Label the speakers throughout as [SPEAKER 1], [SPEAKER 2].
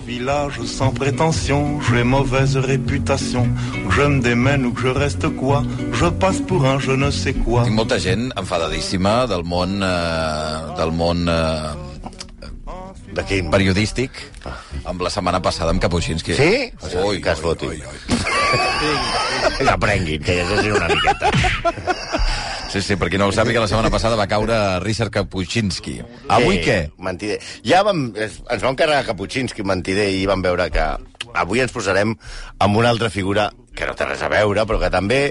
[SPEAKER 1] village sans prétention, j'ai mauvaise réputation. Je me démène ou que je reste quoi, je passe pour un je ne sais quoi.
[SPEAKER 2] Tinc molta gent enfadadíssima del món... Eh, del món eh,
[SPEAKER 3] De quin?
[SPEAKER 2] periodístic amb la setmana passada amb Caputxins.
[SPEAKER 3] Sí?
[SPEAKER 2] Ui,
[SPEAKER 3] que es
[SPEAKER 2] ui,
[SPEAKER 3] foti.
[SPEAKER 2] ui, ui.
[SPEAKER 3] Que aprenguin, que llegeixin una miqueta.
[SPEAKER 2] Sí, sí, perquè no ho sàpiga, la setmana passada va caure Richard Kapuscinski. Avui
[SPEAKER 3] Eh,
[SPEAKER 2] què?
[SPEAKER 3] Mentider. Ja vam, es- ens vam carregar Caputxinski, mentider, i vam veure que avui ens posarem amb una altra figura que no té res a veure, però que també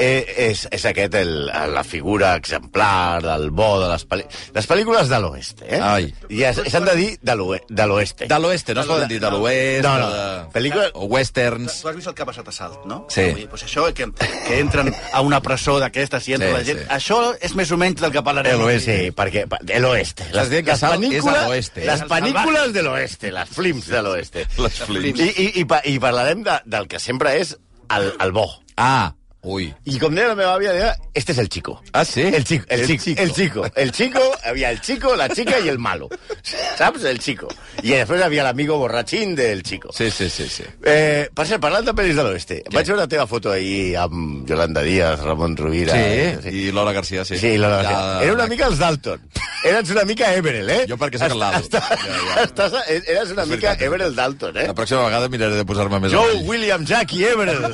[SPEAKER 3] eh, és, és aquest el, la figura exemplar del bo de les, pel·li... les pel·lícules de l'oest. Eh?
[SPEAKER 2] Ai.
[SPEAKER 3] I es- s'han de dir de l'oe- de l'oeste.
[SPEAKER 2] De l'oeste, no es poden dir de l'oest,
[SPEAKER 3] No, no.
[SPEAKER 2] de-
[SPEAKER 3] Pel·lícula-
[SPEAKER 2] o westerns...
[SPEAKER 4] Tu has vist el que ha passat a Salt, no?
[SPEAKER 2] Sí.
[SPEAKER 4] Avui,
[SPEAKER 3] pues
[SPEAKER 4] doncs això, que, que entren a una presó d'aquestes i entra
[SPEAKER 2] Sí,
[SPEAKER 4] la gent...
[SPEAKER 2] sí.
[SPEAKER 4] Això és més o menys del que parlarem.
[SPEAKER 3] L'oeste, sí, perquè... L'oeste.
[SPEAKER 2] Estàs dient que Salt és a l'oeste, eh?
[SPEAKER 3] Les pel·lícules de l'oeste, les films de l'oeste.
[SPEAKER 2] Les flims.
[SPEAKER 3] I, i, i, pa- i parlarem de, del que sempre és el, el bo.
[SPEAKER 2] Ah, ui.
[SPEAKER 3] I com deia la meva àvia, deia, este és el chico.
[SPEAKER 2] Ah, sí?
[SPEAKER 3] El chico, el, chico, el chico. El chico, havia el chico, la chica i el malo. Saps? El chico. I després havia l'amigo borratxín del chico.
[SPEAKER 2] Sí, sí, sí, sí.
[SPEAKER 3] Eh, per cert, parlant de pel·lis de l'oeste, vaig veure la teva foto ahir amb Yolanda Díaz, Ramon Rovira... eh,
[SPEAKER 2] Sí, i Laura Garcia, sí.
[SPEAKER 3] Sí, la, la,
[SPEAKER 2] Ja-
[SPEAKER 3] Era una mica els Dalton. Eres una mica Emeril, eh?
[SPEAKER 2] Jo perquè sóc el Lalo.
[SPEAKER 3] Està,
[SPEAKER 2] Ja, ja.
[SPEAKER 3] Estàs, eres una
[SPEAKER 2] És
[SPEAKER 3] mica
[SPEAKER 2] veritat, és
[SPEAKER 3] Emeril Dalton, eh?
[SPEAKER 2] La pròxima vegada miraré de posar-me més
[SPEAKER 3] Joe,
[SPEAKER 2] avall.
[SPEAKER 3] William, Jackie, Emeril.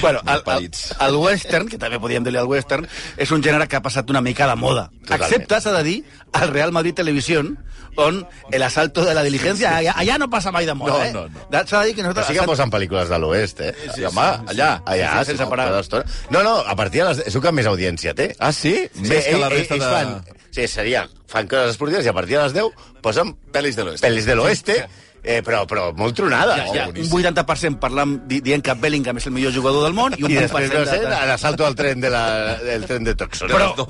[SPEAKER 4] Bueno, el, el,
[SPEAKER 2] Malparits.
[SPEAKER 4] el western, que també podíem dir-li el western, és un gènere que ha passat una mica de moda.
[SPEAKER 3] Totalment.
[SPEAKER 4] Excepte, s'ha de dir, al Real Madrid Televisió, on el asalto de la diligencia, allà, allà no passa mai de moda,
[SPEAKER 2] No,
[SPEAKER 4] eh?
[SPEAKER 2] no, no.
[SPEAKER 4] S'ha de dir que nosaltres...
[SPEAKER 3] Sí que posen pel·lícules de l'oest, eh? Sí,
[SPEAKER 2] sí,
[SPEAKER 3] home,
[SPEAKER 2] sí, sí.
[SPEAKER 3] allà, allà,
[SPEAKER 4] Sí, sí, sense
[SPEAKER 3] no,
[SPEAKER 4] parar.
[SPEAKER 3] tota l'estona. No, no, a partir de les... És el que més audiència té.
[SPEAKER 2] Ah, sí? Més que la
[SPEAKER 3] ell-
[SPEAKER 2] resta
[SPEAKER 3] ells
[SPEAKER 2] de...
[SPEAKER 3] Fan, sí, seria, fan coses esportives i a partir de les 10 posen pel·lis de l'oest. Pel·lis de l'oest, eh, però, però molt tronades.
[SPEAKER 4] Ja, un 80% parlant, di- dient que Bellingham és el millor jugador del món i un
[SPEAKER 3] I després,
[SPEAKER 4] 20%
[SPEAKER 3] no sé,
[SPEAKER 4] de- de...
[SPEAKER 3] l'assalto al tren de la, del tren de Toxon.
[SPEAKER 4] però,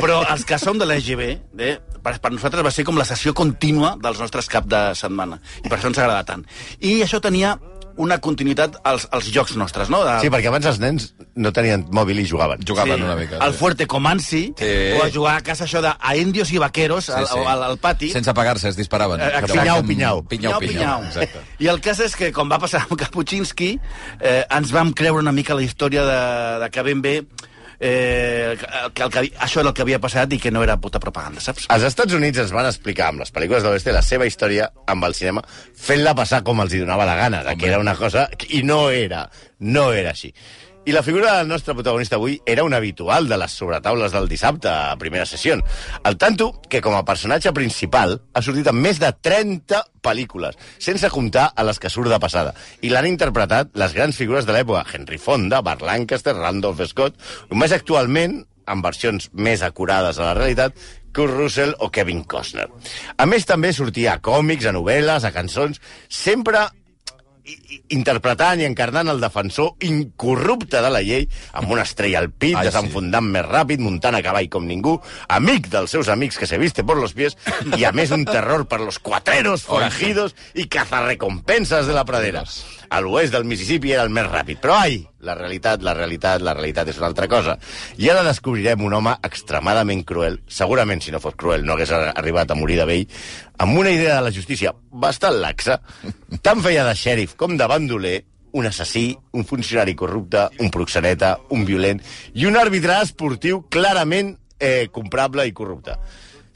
[SPEAKER 4] però els que som de l'EGB, eh, per, per nosaltres va ser com la sessió contínua dels nostres cap de setmana. I per això ens agrada tant. I això tenia una continuïtat als, als jocs nostres, no? De,
[SPEAKER 3] Sí, perquè abans els nens no tenien mòbil i jugaven.
[SPEAKER 2] Jugaven una mica.
[SPEAKER 4] Al Fuerte Comansi,
[SPEAKER 2] Sí.
[SPEAKER 4] o a jugar a casa això de a indios i vaqueros al, al, al pati.
[SPEAKER 2] Sense pagar-se, es disparaven.
[SPEAKER 4] Eh, exacte.
[SPEAKER 3] Pinyau, pinyau.
[SPEAKER 2] Pinyau, pinyau. Exacte.
[SPEAKER 4] I el cas és que, com va passar amb Kapuscinski, eh, ens vam creure una mica la història de, de que ben bé eh, que, el que, això era el que havia passat i que no era puta propaganda, saps?
[SPEAKER 3] Als Estats Units ens van explicar amb les pel·lícules de l'Oeste la seva història amb el cinema, fent-la passar com els hi donava la gana, de que era una cosa... I no era, no era així. I la figura del nostre protagonista avui era un habitual de les sobretaules del dissabte, a primera sessió. Al tanto que com a personatge principal ha sortit en més de 30 pel·lícules, sense comptar a les que surt de passada. I l'han interpretat les grans figures de l'època, Henry Fonda, Bart Lancaster, Randolph Scott, més actualment amb versions més acurades a la realitat, Kurt Russell o Kevin Costner. A més, també sortia a còmics, a novel·les, a cançons, sempre i- i- interpretant i encarnant el defensor incorrupte de la llei, amb una estrella al pit,
[SPEAKER 2] Ai, sí.
[SPEAKER 3] desenfundant més ràpid, muntant a cavall com ningú, amic dels seus amics que se viste por los pies, i a més un terror per los cuatreros, forajidos i cazarrecompenses de la pradera. A l'oest del Mississippi era el més ràpid, però ai, la realitat, la realitat, la realitat és una altra cosa. I ara descobrirem un home extremadament cruel, segurament si no fos cruel no hagués arribat a morir de vell, amb una idea de la justícia bastant laxa, tant feia de xèrif com de bandoler, un assassí, un funcionari corrupte, un proxeneta, un violent i un àrbitre esportiu clarament eh, comprable i corrupte.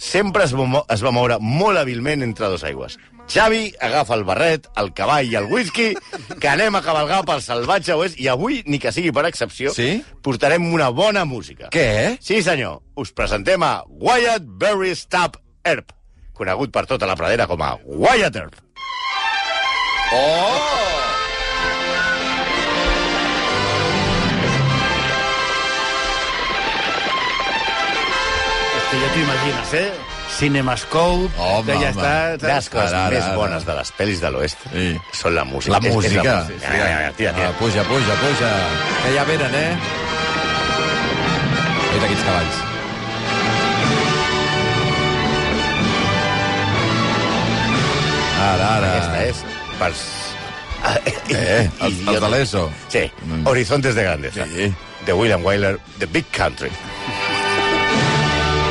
[SPEAKER 3] Sempre es va, mo- es va moure molt hàbilment entre dos aigües. Xavi agafa el barret, el cavall i el whisky, que anem a cavalgar pel salvatge oest, i avui, ni que sigui per excepció,
[SPEAKER 2] Sí?
[SPEAKER 3] portarem una bona música.
[SPEAKER 2] Què? eh?
[SPEAKER 3] Sí, senyor. Us presentem a Wyatt Berry Stab Earp, conegut per tota la pradera com a Wyatt Earp.
[SPEAKER 4] Que ja t'ho imagines, eh? Cinemascope,
[SPEAKER 2] Home,
[SPEAKER 4] que ja
[SPEAKER 2] home.
[SPEAKER 4] està...
[SPEAKER 3] Les coses
[SPEAKER 2] Ara, ara,
[SPEAKER 3] més
[SPEAKER 2] ara.
[SPEAKER 3] bones de les pel·lis de l'oest
[SPEAKER 2] Sí.
[SPEAKER 3] són la música.
[SPEAKER 2] La
[SPEAKER 3] És- és
[SPEAKER 2] música.
[SPEAKER 3] música. Ja, ja, ja, tira, tira.
[SPEAKER 2] Ah, puja, puja, puja. Que ja venen, eh? Mira aquests cavalls. Ara, ara.
[SPEAKER 3] Aquesta és pels...
[SPEAKER 2] Eh, els, els de l'ESO.
[SPEAKER 3] Sí,
[SPEAKER 4] Mm.
[SPEAKER 3] Horizontes de Grandeza.
[SPEAKER 2] Sí.
[SPEAKER 3] De William Wyler, The Big Country.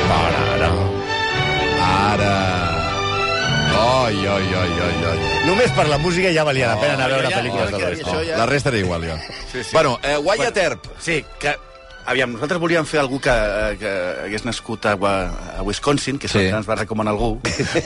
[SPEAKER 3] Pararà.
[SPEAKER 2] Ara. Ai, ai, ai, ai, ai.
[SPEAKER 3] Només per la música ja valia la pena anar a veure
[SPEAKER 4] ja,
[SPEAKER 3] pel·lícules
[SPEAKER 4] ja,
[SPEAKER 3] de l'Oest.
[SPEAKER 4] això ja-
[SPEAKER 2] La resta era igual, jo. Sí, sí. Bueno, eh, Wyatt Earp.
[SPEAKER 4] Sí, que... Aviam, nosaltres volíem fer algú que, eh, que hagués nascut a, Wa- a Wisconsin, que és
[SPEAKER 2] Sí.
[SPEAKER 4] el que ens va recomanar algú,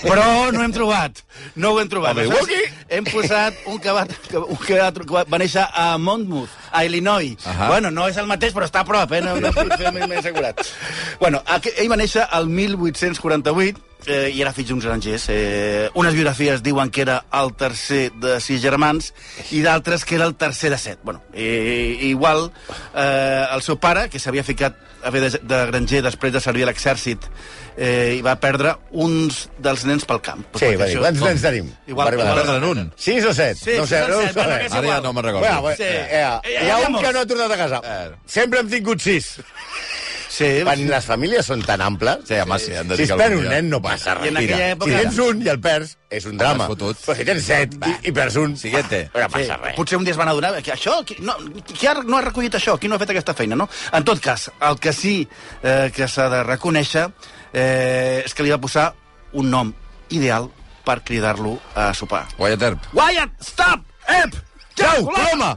[SPEAKER 4] però no hem trobat. No ho hem trobat.
[SPEAKER 3] Home,
[SPEAKER 4] Aleshores,
[SPEAKER 3] Wookie!
[SPEAKER 4] hem posat un que va, que, un que va, que va- va néixer a Monmouth, a Illinois.
[SPEAKER 2] Ahà.
[SPEAKER 4] Bueno, no és el mateix, però està a prop, eh? No, no puc fer més, més assegurat. Bueno, aqu- ell va néixer al 1848, eh, i era fill d'uns grangers. Eh, unes biografies diuen que era el tercer de sis germans i d'altres que era el tercer de set. Bueno, eh, igual eh, el seu pare, que s'havia ficat a fer de, de granger després de servir a l'exèrcit, eh, i va perdre uns dels nens pel camp. Doncs
[SPEAKER 3] Sí,
[SPEAKER 4] perquè
[SPEAKER 3] va dir,
[SPEAKER 4] això-
[SPEAKER 3] quants nens tenim?
[SPEAKER 4] Igual-
[SPEAKER 3] Va arribar.
[SPEAKER 4] igual-
[SPEAKER 2] Perdre'n un.
[SPEAKER 3] Sis o set?
[SPEAKER 4] Sí,
[SPEAKER 3] no sé,
[SPEAKER 4] sis o
[SPEAKER 3] no ho
[SPEAKER 4] set, bueno,
[SPEAKER 3] sé.
[SPEAKER 4] que sí.
[SPEAKER 2] Ara ja no me'n recordo.
[SPEAKER 3] Bueno, bueno,
[SPEAKER 4] Sí.
[SPEAKER 3] eh, eh, hi ha un que no ha tornat a casa. Sempre hem tingut sis.
[SPEAKER 4] Sí,
[SPEAKER 3] Quan les famílies són tan amples...
[SPEAKER 2] Sí, home, sí, hem de
[SPEAKER 3] Si
[SPEAKER 2] dir
[SPEAKER 3] es
[SPEAKER 2] que
[SPEAKER 3] perd
[SPEAKER 2] algun
[SPEAKER 3] un
[SPEAKER 2] dia-
[SPEAKER 3] nen, no passa
[SPEAKER 4] I
[SPEAKER 3] res.
[SPEAKER 4] en aquella
[SPEAKER 3] Mira,
[SPEAKER 4] època-
[SPEAKER 3] Si tens un i el perds, és un drama.
[SPEAKER 2] Home, fotut.
[SPEAKER 3] Però si tens set i, i perds un,
[SPEAKER 2] Sí que té.
[SPEAKER 3] però no
[SPEAKER 4] Sí,
[SPEAKER 3] passa res.
[SPEAKER 4] potser un dia es van adonar que això, qui, no, qui ha, no ha recollit això, qui no ha fet aquesta feina, no? En tot cas, el que sí eh, que s'ha de reconèixer eh, és que li va posar un nom ideal per cridar-lo a sopar.
[SPEAKER 2] Wyatt Earp.
[SPEAKER 4] Wyatt, stop! Ep!
[SPEAKER 3] Trau, ploma!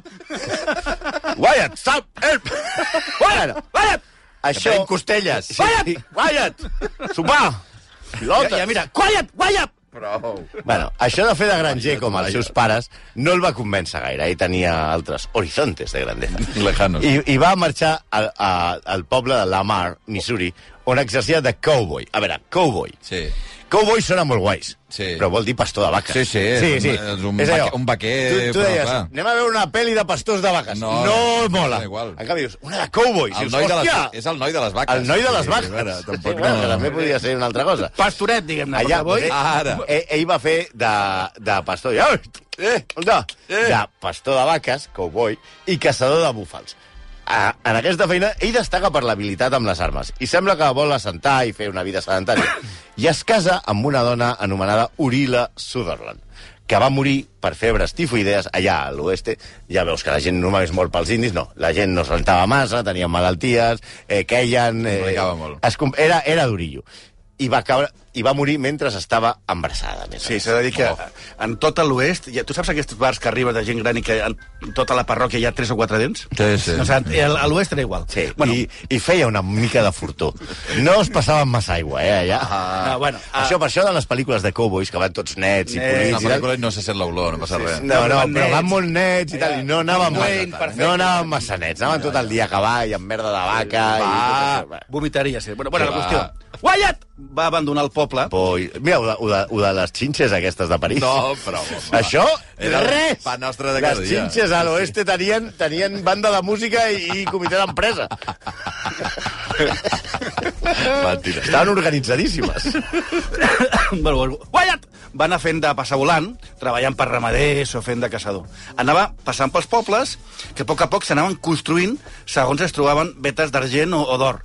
[SPEAKER 3] Wyatt, stop! Help! Wyatt! Wyatt! Això...
[SPEAKER 2] Tenim costelles.
[SPEAKER 3] Sí, sí. Wyatt! Sopar! Pilotes!
[SPEAKER 4] Ja, ja, mira, quiet, quiet!
[SPEAKER 3] Bueno, això de fer de granger com els seus pares no el va convèncer gaire. Ell tenia altres horizontes de grandesa.
[SPEAKER 2] Lejanos.
[SPEAKER 3] I, i va marxar a, a, al poble de Lamar, Missouri, on exercia de cowboy. A veure, cowboy.
[SPEAKER 2] Sí.
[SPEAKER 3] Cowboy sona molt guais,
[SPEAKER 2] Sí.
[SPEAKER 3] però vol dir pastor de vaques.
[SPEAKER 2] Sí, sí, és
[SPEAKER 3] sí,
[SPEAKER 2] un-
[SPEAKER 3] sí.
[SPEAKER 2] és un
[SPEAKER 3] allò.
[SPEAKER 2] vaque- un vaquer,
[SPEAKER 3] Tu, tu
[SPEAKER 2] però
[SPEAKER 3] deies,
[SPEAKER 2] clar.
[SPEAKER 3] anem a veure una pel·li de pastors de vaques.
[SPEAKER 2] No,
[SPEAKER 3] no mola.
[SPEAKER 2] no, igual.
[SPEAKER 3] En canvi dius, una de cowboys.
[SPEAKER 2] El
[SPEAKER 3] dius,
[SPEAKER 2] noi de les,
[SPEAKER 3] hòstia!
[SPEAKER 2] és el noi de les vaques.
[SPEAKER 3] El noi de les
[SPEAKER 2] Sí,
[SPEAKER 3] vaques.
[SPEAKER 2] a veure, tampoc
[SPEAKER 3] sí, bueno,
[SPEAKER 2] no-
[SPEAKER 3] que també podia ser una altra cosa.
[SPEAKER 4] Pastoret, diguem-ne.
[SPEAKER 3] Allà, eh,
[SPEAKER 4] perquè avui-
[SPEAKER 2] Ara.
[SPEAKER 3] Eh, ell va fer de, de pastor. Ja, eh, no, de pastor de vaques, cowboy, i caçador de búfals. A, en aquesta feina, ell destaca per l'habilitat amb les armes i sembla que vol assentar i fer una vida sedentària. I es casa amb una dona anomenada Urila Sutherland, que va morir per febres tifoidees allà a l'oest. Ja veus que la gent normalment es mor pels indis, no. La gent no s'alentava massa, tenien malalties, eh, queien... Eh,
[SPEAKER 2] Complicava molt.
[SPEAKER 3] Es, com- era, era durillo i va, caure, i va morir mentre estava embarassada. a Més Oh.
[SPEAKER 4] Sí, s'ha de dir que Oh. en tot l'oest... ja- Tu saps aquests bars que arribes de gent gran i que en tota la parròquia hi ha tres o quatre dents?
[SPEAKER 2] Sí, sí.
[SPEAKER 4] O sigui, el- a l'oest era igual.
[SPEAKER 3] Sí, bueno. i, i feia una mica de furtó. No es passaven massa aigua, eh, allà.
[SPEAKER 4] Ah, bueno, ah.
[SPEAKER 3] això, per això de les pel·lícules de cowboys, que van tots nets i
[SPEAKER 4] Nets.
[SPEAKER 2] És
[SPEAKER 3] polits
[SPEAKER 2] una
[SPEAKER 3] i tal...
[SPEAKER 2] pel·lícula i no se sent l'olor, no passa res.
[SPEAKER 3] No, no,
[SPEAKER 4] van
[SPEAKER 3] però
[SPEAKER 4] nets.
[SPEAKER 3] van molt nets i tal, i no anaven
[SPEAKER 4] Wayne,
[SPEAKER 3] massa,
[SPEAKER 4] perfecte.
[SPEAKER 3] no anaven massa nets, anaven tot el dia a cavall, amb merda de vaca...
[SPEAKER 4] Ah,
[SPEAKER 3] I tot això.
[SPEAKER 4] vomitaria, sí. Bueno, bueno la
[SPEAKER 2] Sí, va.
[SPEAKER 4] qüestió... Wyatt va abandonar el poble.
[SPEAKER 3] Poi... Mira, ho de, ho, de, ho de les xinxes aquestes de París.
[SPEAKER 2] No, però, home.
[SPEAKER 3] Això,
[SPEAKER 2] Era
[SPEAKER 3] res!
[SPEAKER 2] pa nostre de
[SPEAKER 3] les
[SPEAKER 2] cada dia.
[SPEAKER 3] xinxes a l'oeste tenien, tenien banda de música i, i comitè d'empresa.
[SPEAKER 2] Mentira.
[SPEAKER 3] Estaven organitzadíssimes.
[SPEAKER 4] bueno, bueno, Wyatt va anar fent de passar volant, treballant per ramaders o fent de caçador. Anava passant pels pobles, que a poc a poc s'anaven construint segons es trobaven vetes d'argent o, o d'or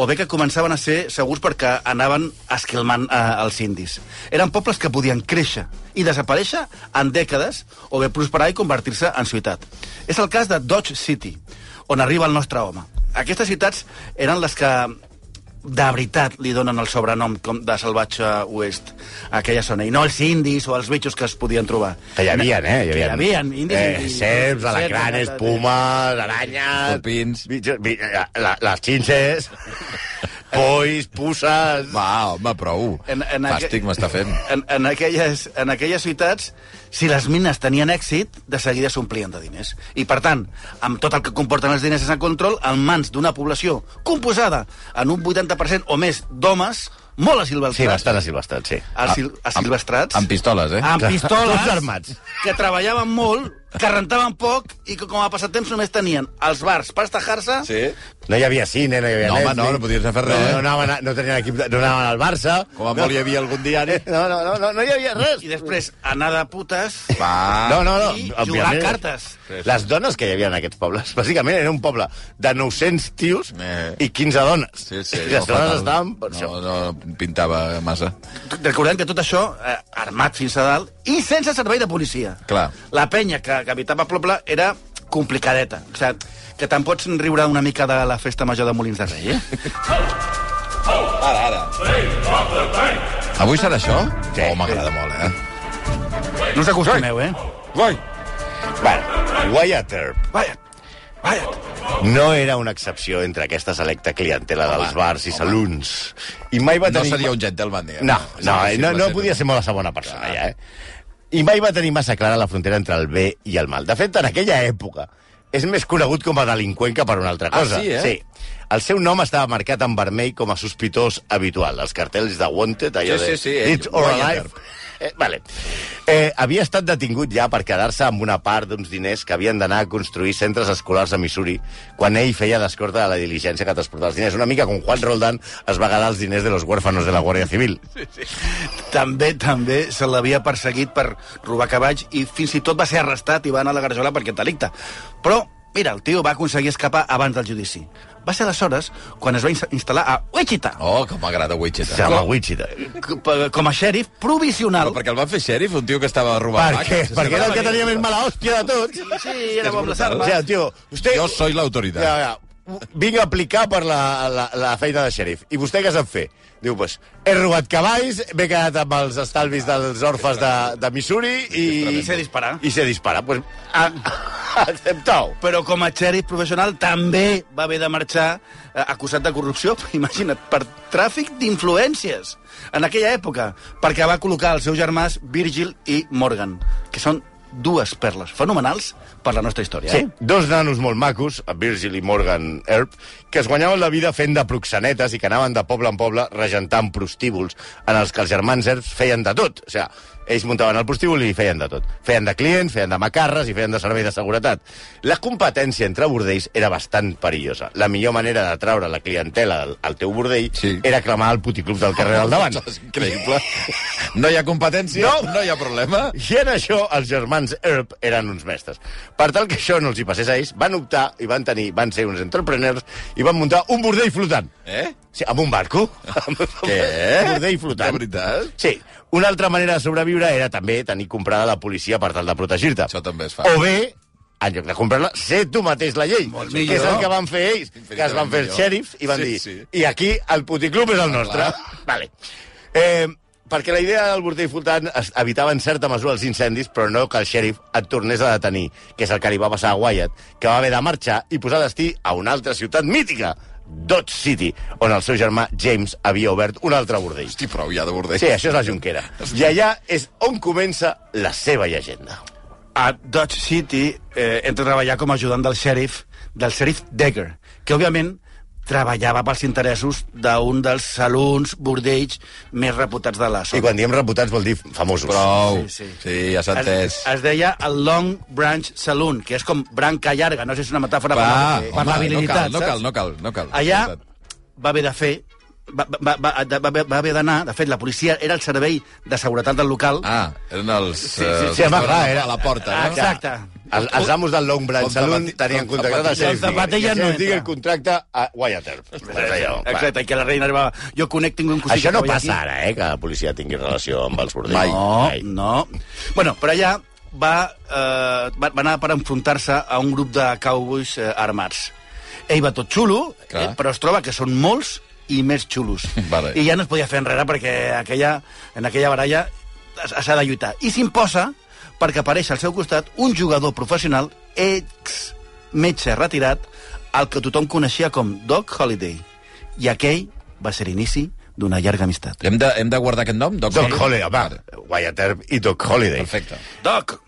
[SPEAKER 4] o bé que començaven a ser segurs perquè anaven esquilmant eh, els indis. Eren pobles que podien créixer i desaparèixer en dècades o bé prosperar i convertir-se en ciutat. És el cas de Dodge City, on arriba el nostre home. Aquestes ciutats eren les que de veritat li donen el sobrenom com de salvatge oest a aquella zona, i no els indis o els bitxos que es podien trobar.
[SPEAKER 3] Que hi havia, eh? Hi
[SPEAKER 4] Que hi
[SPEAKER 3] havia,
[SPEAKER 4] havia, indis.
[SPEAKER 3] Eh,
[SPEAKER 4] i-
[SPEAKER 3] ceps, alacranes,
[SPEAKER 4] etcètera.
[SPEAKER 3] pumes, aranyes...
[SPEAKER 2] Turpins.
[SPEAKER 3] bitxos- bi- eh, la- Les xinxes... Pois, puces...
[SPEAKER 2] Va, home, prou.
[SPEAKER 4] En- en aqu-
[SPEAKER 2] Fàstic m'està fent.
[SPEAKER 4] En, en, aquelles, en aquelles ciutats, si les mines tenien èxit, de seguida s'omplien de diners. I, per tant, amb tot el que comporten els diners en control, en mans d'una població composada en un 80% o més d'homes, molt
[SPEAKER 3] Sí,
[SPEAKER 4] asilvestrats,
[SPEAKER 3] bastant asilvestat, sí.
[SPEAKER 4] asil, asilvestrats,
[SPEAKER 2] Ah, Amb pistoles, eh?
[SPEAKER 4] amb pistoles,
[SPEAKER 3] Tots armats.
[SPEAKER 4] que treballaven molt, que rentaven poc i que, com a passatemps, només tenien els bars per estajar-se
[SPEAKER 2] Sí.
[SPEAKER 3] No hi havia cine, no hi havia
[SPEAKER 2] No, home,
[SPEAKER 3] Netflix.
[SPEAKER 2] no, no podies fer res. eh?
[SPEAKER 3] No, no, anaven, a- no tenien equip, de- no anaven al Barça.
[SPEAKER 2] Com a molt hi havia algun diari.
[SPEAKER 3] No, no, no, no, no hi havia res. Ah.
[SPEAKER 4] i després anar de putes
[SPEAKER 2] Va.
[SPEAKER 3] No, no, no.
[SPEAKER 4] i jugar
[SPEAKER 3] òbviament.
[SPEAKER 4] a cartes.
[SPEAKER 3] Les dones que hi havia en aquests pobles, bàsicament era un poble de 900 tios
[SPEAKER 2] Eh.
[SPEAKER 3] i 15 dones.
[SPEAKER 2] Sí, sí.
[SPEAKER 3] I les
[SPEAKER 2] no,
[SPEAKER 3] dones
[SPEAKER 2] fatal.
[SPEAKER 3] estaven per això.
[SPEAKER 2] No, no pintava massa.
[SPEAKER 4] Recordem que tot això, eh, armat fins a dalt i sense servei de policia.
[SPEAKER 2] Clar.
[SPEAKER 4] La penya que, que habitava el poble era complicadeta. O sigui, que te'n pots riure una mica de la festa major de Molins de Rei, eh?
[SPEAKER 2] Ara, ara.
[SPEAKER 5] Save from the bank!
[SPEAKER 2] Avui serà això?
[SPEAKER 3] Sí.
[SPEAKER 2] Oh, m'agrada molt, eh?
[SPEAKER 4] No us acostumeu, eh?
[SPEAKER 3] Guai. Bueno, Wyatt Earp
[SPEAKER 4] Vaja, vaja.
[SPEAKER 3] no era una excepció entre aquesta selecta clientela home, dels bars i salons. I mai va
[SPEAKER 2] No
[SPEAKER 3] tenir...
[SPEAKER 2] seria un gentleman, diguem.
[SPEAKER 3] No, no,
[SPEAKER 2] eh? Sí, sí,
[SPEAKER 3] no,
[SPEAKER 2] va
[SPEAKER 3] no
[SPEAKER 2] ser-
[SPEAKER 3] podia ser massa bona persona, ja, eh? I mai va tenir massa clara la frontera entre el bé i el mal. De fet, en aquella època, és més conegut com a delinqüent que per una altra
[SPEAKER 2] Ah,
[SPEAKER 3] cosa.
[SPEAKER 2] sí, eh?
[SPEAKER 3] Sí. El seu nom estava marcat en vermell com a sospitós habitual. Els cartells de Wanted, allò
[SPEAKER 2] Sí,
[SPEAKER 3] de...
[SPEAKER 2] sí, sí, eh,
[SPEAKER 3] It's or
[SPEAKER 2] Wyatt
[SPEAKER 3] alive.
[SPEAKER 2] Earp.
[SPEAKER 3] Eh, vale. Eh, havia estat detingut ja per quedar-se amb una part d'uns diners que havien d'anar a construir centres escolars a Missouri quan ell feia d'escorta de la diligència que transportava els diners. Una mica com Juan Roldán es va quedar els diners de los huérfanos de la Guàrdia Civil.
[SPEAKER 4] També, també se l'havia perseguit per robar cavalls i fins i tot va ser arrestat i va anar a la garjola per aquest delicte. Però, mira, el tio va aconseguir escapar abans del judici. Va ser aleshores quan es va insta- instal·lar a Wichita,
[SPEAKER 2] Oh, que m'agrada Wichita.
[SPEAKER 3] Se llama Wichita.
[SPEAKER 4] c- com a xèrif provisional.
[SPEAKER 2] Però perquè el van fer xèrif, un tio que estava robant
[SPEAKER 3] Per què?
[SPEAKER 2] vaques.
[SPEAKER 3] Perquè era el que tenia més mala hòstia de tots.
[SPEAKER 4] Sí, era bo amb les
[SPEAKER 3] O
[SPEAKER 4] armes.
[SPEAKER 3] sigui, tio, vostè...
[SPEAKER 2] Jo soy
[SPEAKER 3] Ja,
[SPEAKER 2] l'autoritat.
[SPEAKER 3] ja. Vinc a aplicar per la, la, la feina de xerif. I vostè què sap fer? Diu, pues, he robat cavalls, m'he quedat amb els estalvis dels orfes de, de Missouri i...
[SPEAKER 4] I sé disparar.
[SPEAKER 3] I sé disparar. Pues, a, acceptau.
[SPEAKER 4] Ah, Però com a xèrif professional també va haver de marxar eh, acusat de corrupció, imagina't, per tràfic d'influències en aquella època, perquè va col·locar els seus germans Virgil i Morgan, que són dues perles fenomenals per la nostra història.
[SPEAKER 3] Sí,
[SPEAKER 4] Eh?
[SPEAKER 3] dos nanos molt macos, Virgil i Morgan Earp, que es guanyaven la vida fent de proxenetes i que anaven de poble en poble regentant prostíbuls en els que els germans Earp feien de tot. O sigui, ells muntaven el prostíbul i feien de tot. Feien de clients, feien de macarres i feien de servei de seguretat. La competència entre bordells era bastant perillosa. La millor manera de traure la clientela al, al teu bordell
[SPEAKER 2] Sí.
[SPEAKER 3] era clamar al puticlub del carrer al davant.
[SPEAKER 2] És increïble. No hi ha competència,
[SPEAKER 3] No.
[SPEAKER 2] no, no hi ha problema.
[SPEAKER 3] I en això els germans Earp eren uns mestres. Per tal que això no els hi passés a ells, van optar i van tenir, van ser uns entrepreneurs i van muntar un bordell flotant.
[SPEAKER 2] Eh?
[SPEAKER 3] Sí, amb un barco.
[SPEAKER 2] Què?
[SPEAKER 3] Un bordell flotant.
[SPEAKER 2] De veritat?
[SPEAKER 3] Sí. Una altra manera de sobreviure era també tenir comprada la policia per tal de protegir-te.
[SPEAKER 2] Això també es fa.
[SPEAKER 3] O bé, en lloc de comprar-la, ser tu mateix la llei.
[SPEAKER 4] Molt
[SPEAKER 3] que
[SPEAKER 4] millor.
[SPEAKER 3] és el que van fer ells, que es van fer els
[SPEAKER 2] Infinitament
[SPEAKER 3] xèrifs i van
[SPEAKER 2] Sí,
[SPEAKER 3] dir,
[SPEAKER 2] sí.
[SPEAKER 3] i aquí el puticlub és el nostre. Vale. Eh, perquè la idea del bordell flotant es- evitava en certa mesura els incendis, però no que el xèrif et tornés a detenir, que és el que li va passar a Wyatt, que va haver de marxar i posar destí a una altra ciutat mítica, Dodge City, on el seu germà James havia obert un altre bordell.
[SPEAKER 2] Hosti, prou ja de bordeig.
[SPEAKER 3] Sí, això és la Junquera. I allà és on comença la seva llegenda.
[SPEAKER 4] A Dodge City eh, entra a treballar com a ajudant del xèrif, del xèrif Decker, que, òbviament, treballava pels interessos d'un dels salons, bordells més reputats de la
[SPEAKER 3] I
[SPEAKER 4] zona.
[SPEAKER 3] quan diem reputats vol dir famosos.
[SPEAKER 2] Prou.
[SPEAKER 4] Sí,
[SPEAKER 2] Sí,
[SPEAKER 4] sí.
[SPEAKER 2] sí. ja s'ha entès.
[SPEAKER 4] Es, es deia el Long Branch Saloon, que és com branca llarga, no sé si és una metàfora
[SPEAKER 2] Va,
[SPEAKER 4] per, la, per
[SPEAKER 2] home,
[SPEAKER 4] l'habilitat,
[SPEAKER 2] no cal,
[SPEAKER 4] saps?
[SPEAKER 2] no cal, no cal, no cal.
[SPEAKER 4] Allà va haver de fer va, va, va, va, va haver d'anar, de fet, la policia era el servei de seguretat del local.
[SPEAKER 2] Ah, eren els... Sí,
[SPEAKER 3] sí, sí, home, clar, era-
[SPEAKER 2] a la porta, no?
[SPEAKER 4] Exacte.
[SPEAKER 3] Els, els amos del Long Branch
[SPEAKER 2] Com
[SPEAKER 3] Saloon
[SPEAKER 2] Zapati-
[SPEAKER 3] tenien
[SPEAKER 2] com
[SPEAKER 3] contractat el
[SPEAKER 2] Zapatilla.
[SPEAKER 3] Sheriff
[SPEAKER 4] Com Zapatilla
[SPEAKER 3] Digger.
[SPEAKER 4] no
[SPEAKER 3] El Sheriff Digger
[SPEAKER 4] entra.
[SPEAKER 3] contracta a Wyatt Earp. Exacte.
[SPEAKER 4] Exacte, i que la reina arribava... Jo conec, tinc un cosí...
[SPEAKER 3] Això
[SPEAKER 4] que
[SPEAKER 3] no
[SPEAKER 4] treballa
[SPEAKER 3] passa
[SPEAKER 4] aquí.
[SPEAKER 3] ara, eh, que la policia tingui relació amb els bordells. Mai.
[SPEAKER 4] No, no. Bueno, però allà va, eh, va, va anar per enfrontar-se a un grup de cowboys eh, armats. Ell va tot xulo, eh,
[SPEAKER 2] Clar.
[SPEAKER 4] però es troba que són molts i més xulos.
[SPEAKER 2] Vale.
[SPEAKER 4] I ja no es podia fer enrere perquè aquella, en aquella baralla es- s'ha de lluitar. I s'imposa perquè apareix al seu costat un jugador professional, ex-metge retirat, el que tothom coneixia com Doc Holiday. I aquell va ser l'inici d'una llarga amistat.
[SPEAKER 2] Hem de, hem de guardar aquest nom? Doc,
[SPEAKER 3] Doc Holliday,
[SPEAKER 2] Vale,
[SPEAKER 3] home, Wyatt Earp i Doc Holliday.
[SPEAKER 2] Perfecte.
[SPEAKER 4] Doc!